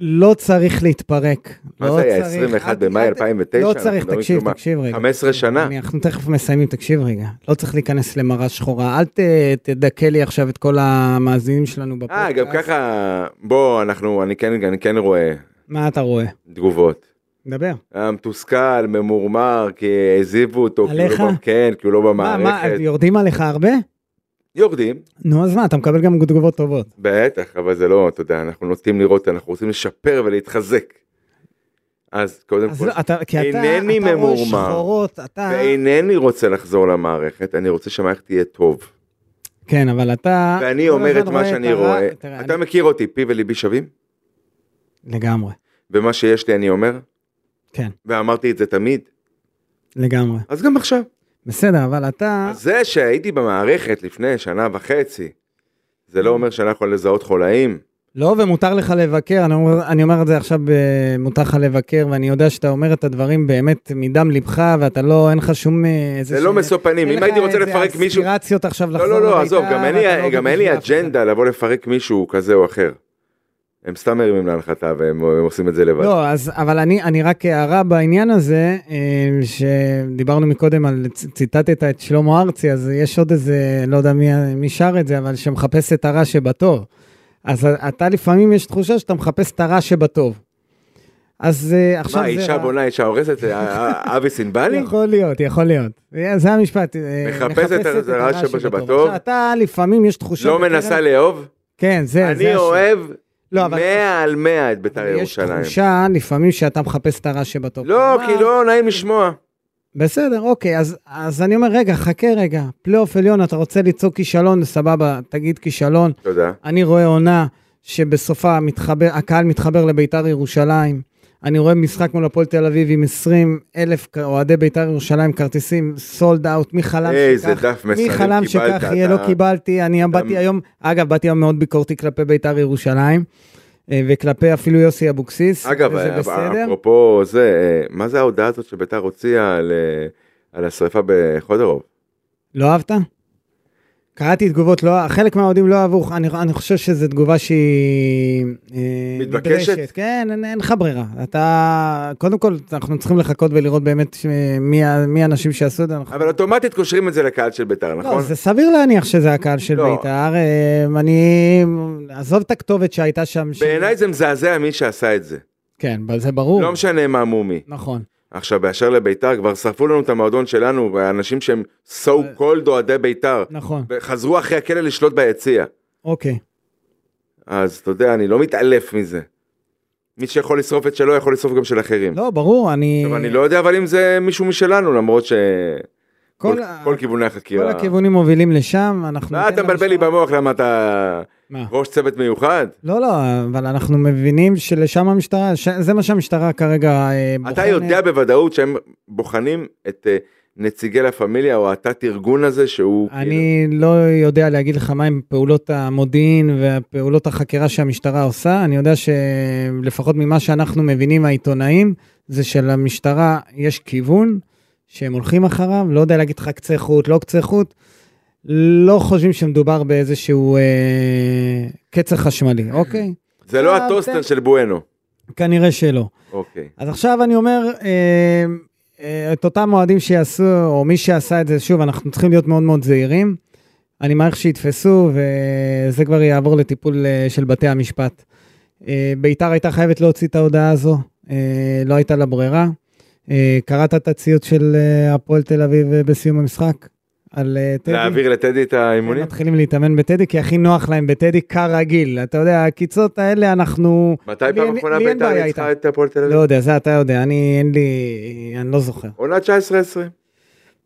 לא צריך להתפרק. מה לא זה היה, צריך- 21 אל- במאי אל- 2009? לא אנחנו צריך, מדברים תקשיב, כאילו, תקשיב מה, רגע. 15 שנה. אני- אנחנו תכף מסיימים, תקשיב רגע. לא צריך להיכנס למראה שחורה, אל ת, תדכא לי עכשיו את כל המאזינים שלנו בפודקאסט. אה, גם ככה, בוא, אנחנו, אני כן, אני כן רואה מה אתה רואה? תגובות. דבר. היה מתוסכל, ממורמר, כי העזיבו אותו. כי הוא לא עליך? ב- כן, כי הוא לא מה, מה, במערכת. יורדים עליך הרבה? יורדים, נו, אז מה, אתה מקבל גם תגובות טובות. בטח, אבל זה לא, אתה יודע, אנחנו נוטים לראות, אנחנו רוצים לשפר ולהתחזק. אז קודם אז כל, לא, אתה, כי אתה, אינני אתה רואה ממורמר. שחורות, אתה... ואינני רוצה לחזור למערכת, אני רוצה שהמערכת תהיה טוב. כן, אבל אתה... ואני כל אומר הזמן את מה לא, רואה שאני הרע- רואה. תראה, אתה אני- מכיר אותי, פי וליבי שווים? לגמרי, ומה שיש לי אני אומר? כן, ואמרתי את זה תמיד, לגמרי. אז גם עכשיו. בסדר, אבל אתה... אז זה שהייתי במערכת לפני שנה וחצי, זה לא אומר שאני לא יכול לזהות חולאים. לא, ומותר לך לבקר, אני אומר, אני אומר את זה עכשיו, ב- מותר לך לבקר, ואני יודע שאתה אומר את הדברים באמת מדם לבך, ואתה לא, אין לך שום אה, איזה... זה לא משוא פנים, אם הייתי רוצה לפרק אין לך איזה מישהו... אספירציות עכשיו לחזור לא, לא, לא, לביתה, עזוב, גם אין ואתה לי- לא גם אין לי בשביל אף אחד. אג'נדה לבוא לפרק מישהו כזה או אחר. הם סתם מרימים להנחתה והם הם עושים את זה לבד. לא, אז, אבל אני, אני רק הערה בעניין הזה, אה, שדיברנו מקודם על, צ- ציטטת את שלמה ארצי, אז יש עוד איזה, לא יודע מי, מי שר את זה, אבל שמחפש את הרע שבטוב. אז א- אתה לפעמים יש תחושה שאתה מחפש את הרע שבטוב. אז אה, עכשיו מה, זה... אישה רע. בונה, אישה הורסת, אה, אה, אבי סינבלי? יכול להיות, יכול להיות. אה, זה המשפט. אה, מחפשת את הרע שבטוב. עכשיו, אתה לפעמים יש תחושה... לא בקרב- מנסה לאהוב? כן, זה... זה אני השם. אוהב לא, אבל- 100 על 100 את בית"ר יש ירושלים. תחושה אוקיי, לפעמים שאתה מחפש את הרע שבטוב. לא, כלומר, כי לא נעים לשמוע. בסדר, אוקיי, אז, אז אני אומר, רגע, חכה רגע, פלייאוף עליון, אתה רוצה ליצור כישלון, סבבה, תגיד כישלון. תודה. אני רואה עונה שבסופה מתחבר, הקהל מתחבר לביתר ירושלים. אני רואה משחק מול הפועל תל אביב עם 20 אלף אוהדי ביתר ירושלים, כרטיסים סולד אאוט, מי חלם איזה שכך, דף מסרים מי קיבלת. חלם שכך יהיה, לא אתה- קיבלתי, אני באתי היום, אגב, באתי היום מאוד ביקורתי כלפי ביתר ירושלים, אה, וכלפי אפילו יוסי אבוקסיס, אגב, אה, וזה אבל בסדר. אפרופו זה, אה, מה זה ההודעה הזאת שביתר הוציאה על, אה, על השריפה בחודרוב? לא אהבת? קראתי תגובות, לא, חלק מהאוהדים לא אהבו, אני, אני חושב שזו תגובה שהיא... אה, מתבקשת? נדרשת. כן, אין, אין לך ברירה. אתה, קודם כל, אנחנו צריכים לחכות ולראות באמת ש- מי, ה- מי האנשים שעשו את זה. אנחנו... אבל אוטומטית קושרים את זה לקהל של ביתר, לא, נכון? זה סביר להניח שזה הקהל של לא. בית"ר. אה, אני... עזוב את הכתובת שהייתה שם. ש- בעיניי זה מזעזע מי שעשה את זה. כן, אבל זה ברור. לא משנה מה מומי. נכון. עכשיו, באשר לביתר, כבר שרפו לנו את המועדון שלנו, האנשים שהם so called אוהדי ביתר, נכון, וחזרו אחרי הכלא לשלוט ביציע. אוקיי. אז אתה יודע, אני לא מתעלף מזה. מי שיכול לשרוף את שלו, יכול לשרוף גם של אחרים. לא, ברור, אני... עכשיו, אני לא יודע אבל אם זה מישהו משלנו, למרות ש... כל- כל- כל כיווני כל החקירה. הכיוונים מובילים לשם, אנחנו... מה ניתן אתה מבלבל לי למשטרה- במוח למה אתה מה? ראש צוות מיוחד? לא, לא, אבל אנחנו מבינים שלשם המשטרה, ש... זה מה שהמשטרה כרגע אה, בוחנת. אתה יודע בוודאות שהם בוחנים את אה, נציגי לה פמיליה או התת ארגון הזה שהוא כאילו- אני לא יודע להגיד לך מהם פעולות המודיעין ופעולות החקירה שהמשטרה עושה. אני יודע שלפחות ממה שאנחנו מבינים העיתונאים, זה שלמשטרה יש כיוון שהם הולכים אחריו, לא יודע להגיד לך קצה חוט, לא קצה חוט. לא חושבים שמדובר באיזשהו אה, קצר חשמלי, אוקיי? זה לא אה, הטוסטר אוקיי. של בואנו. כנראה שלא. אוקיי. אז עכשיו אני אומר, אה, אה, את אותם אוהדים שיעשו, או מי שעשה את זה, שוב, אנחנו צריכים להיות מאוד מאוד זהירים. אני מעריך שיתפסו, וזה כבר יעבור לטיפול אה, של בתי המשפט. אה, ביתר הייתה חייבת להוציא את ההודעה הזו, אה, לא הייתה לה ברירה. אה, קראת את הציוץ של אה, הפועל תל אביב אה, בסיום המשחק? על אה, טדי? להעביר לטדי את הם האימונים? מתחילים להתאמן בטדי, כי הכי נוח להם בטדי, כרגיל. אתה יודע, הקיצות האלה, אנחנו... מתי לי פעם אין- אחרונה לי אין בית"ר בעיה ניצחה איתם. את הפועל תל לא אביב? יודע, זה אתה יודע, אני אין לי, אני לא זוכר. עונה 19-20.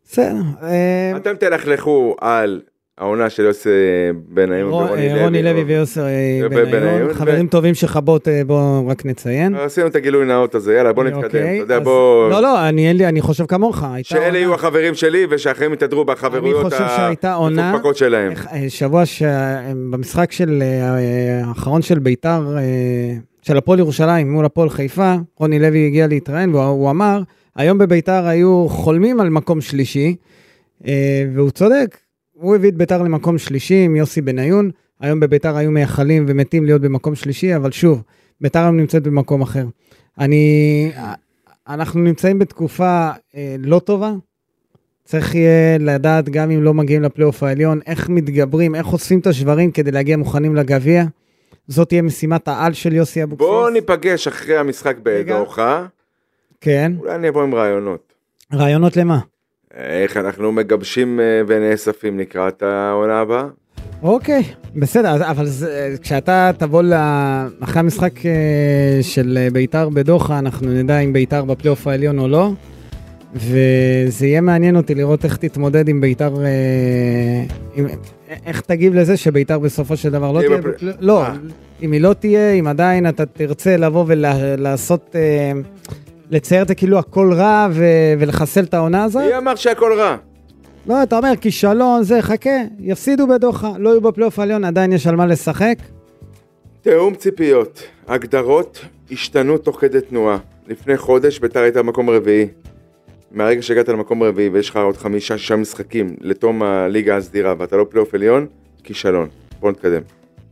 בסדר. אה, אתם תלכלכו על העונה של יוסי בניון רון- אה, רוני לוי ויוסי אה, אה, בניון, לא- בניון, חברים ו- טובים שחבות, אה, בואו רק נציין. אה, עשינו את הגילוי נאות הזה, יאללה בוא נתקדם. אוקיי, אתה יודע, אז- בוא... לא, לא, אני אין לי, אני חושב כמוך. הייתה שאלה עונה- יהיו החברים שלי ושאחרים יתהדרו בחברויות חושב שהייתה עונה- המפוקפקות שלהם. איך- אה, שבוע ש- אה, במשחק של אה, אה, האחרון של ביתר, אה, של הפועל ירושלים מול הפועל חיפה, רוני לוי הגיע להתראיין והוא הוא אמר, היום בביתר היו חולמים על מקום שלישי, אה, והוא צודק, הוא הביא את ביתר למקום שלישי עם יוסי בניון, היום בביתר היו מייחלים ומתים להיות במקום שלישי, אבל שוב, ביתר היום נמצאת במקום אחר. אני, אנחנו נמצאים בתקופה אה, לא טובה, צריך יהיה לדעת, גם אם לא מגיעים לפלייאוף העליון, איך מתגברים, איך אוספים את השברים כדי להגיע מוכנים לגביע. זאת תהיה משימת העל של יוסי אבוקסיס. בואו ניפגש אחרי המשחק רגע. בדוחה, כן. אולי אני אבוא עם רעיונות. רעיונות למה? איך אנחנו מגבשים אה, ונאספים לקראת העונה הבאה. אוקיי, בסדר, אז- אבל זה- כשאתה תבוא ל... אחרי המשחק אה, של אה, בית"ר בדוחה, אנחנו נדע אם בית"ר בפלייאוף העליון או לא, וזה יהיה מעניין אותי לראות איך תתמודד עם בית"ר, אה, עם- א- איך תגיב לזה שבית"ר בסופו של דבר לא תהיה תהיה... בפלי- בפלי- לא, אה. אם היא לא תהיה, אם עדיין אתה תרצה לבוא אה, ולעשות... לצייר את זה כאילו הכל רע ו- ולחסל את העונה הזאת, מי אמר שהכל רע? לא, אתה אומר, כישלון, זה, חכה, יפסידו בדוחה, לא יהיו בפלייאוף העליון, עדיין יש על מה לשחק. תיאום ציפיות, הגדרות השתנו תוך כדי תנועה. לפני חודש ביתר הייתה במקום רביעי. מהרגע שהגעת למקום רביעי ויש לך עוד חמישה-שישה משחקים לתום הליגה הסדירה ואתה לא פלייאוף עליון, כישלון. בוא נתקדם.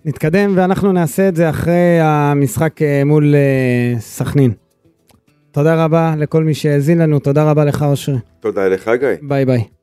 נתקדם, ואנחנו נעשה את זה אחרי המשחק אה, מול אה, סכנין. תודה רבה לכל מי שהאזין לנו, תודה רבה לך, אושרי. תודה לך גיא. ביי ביי.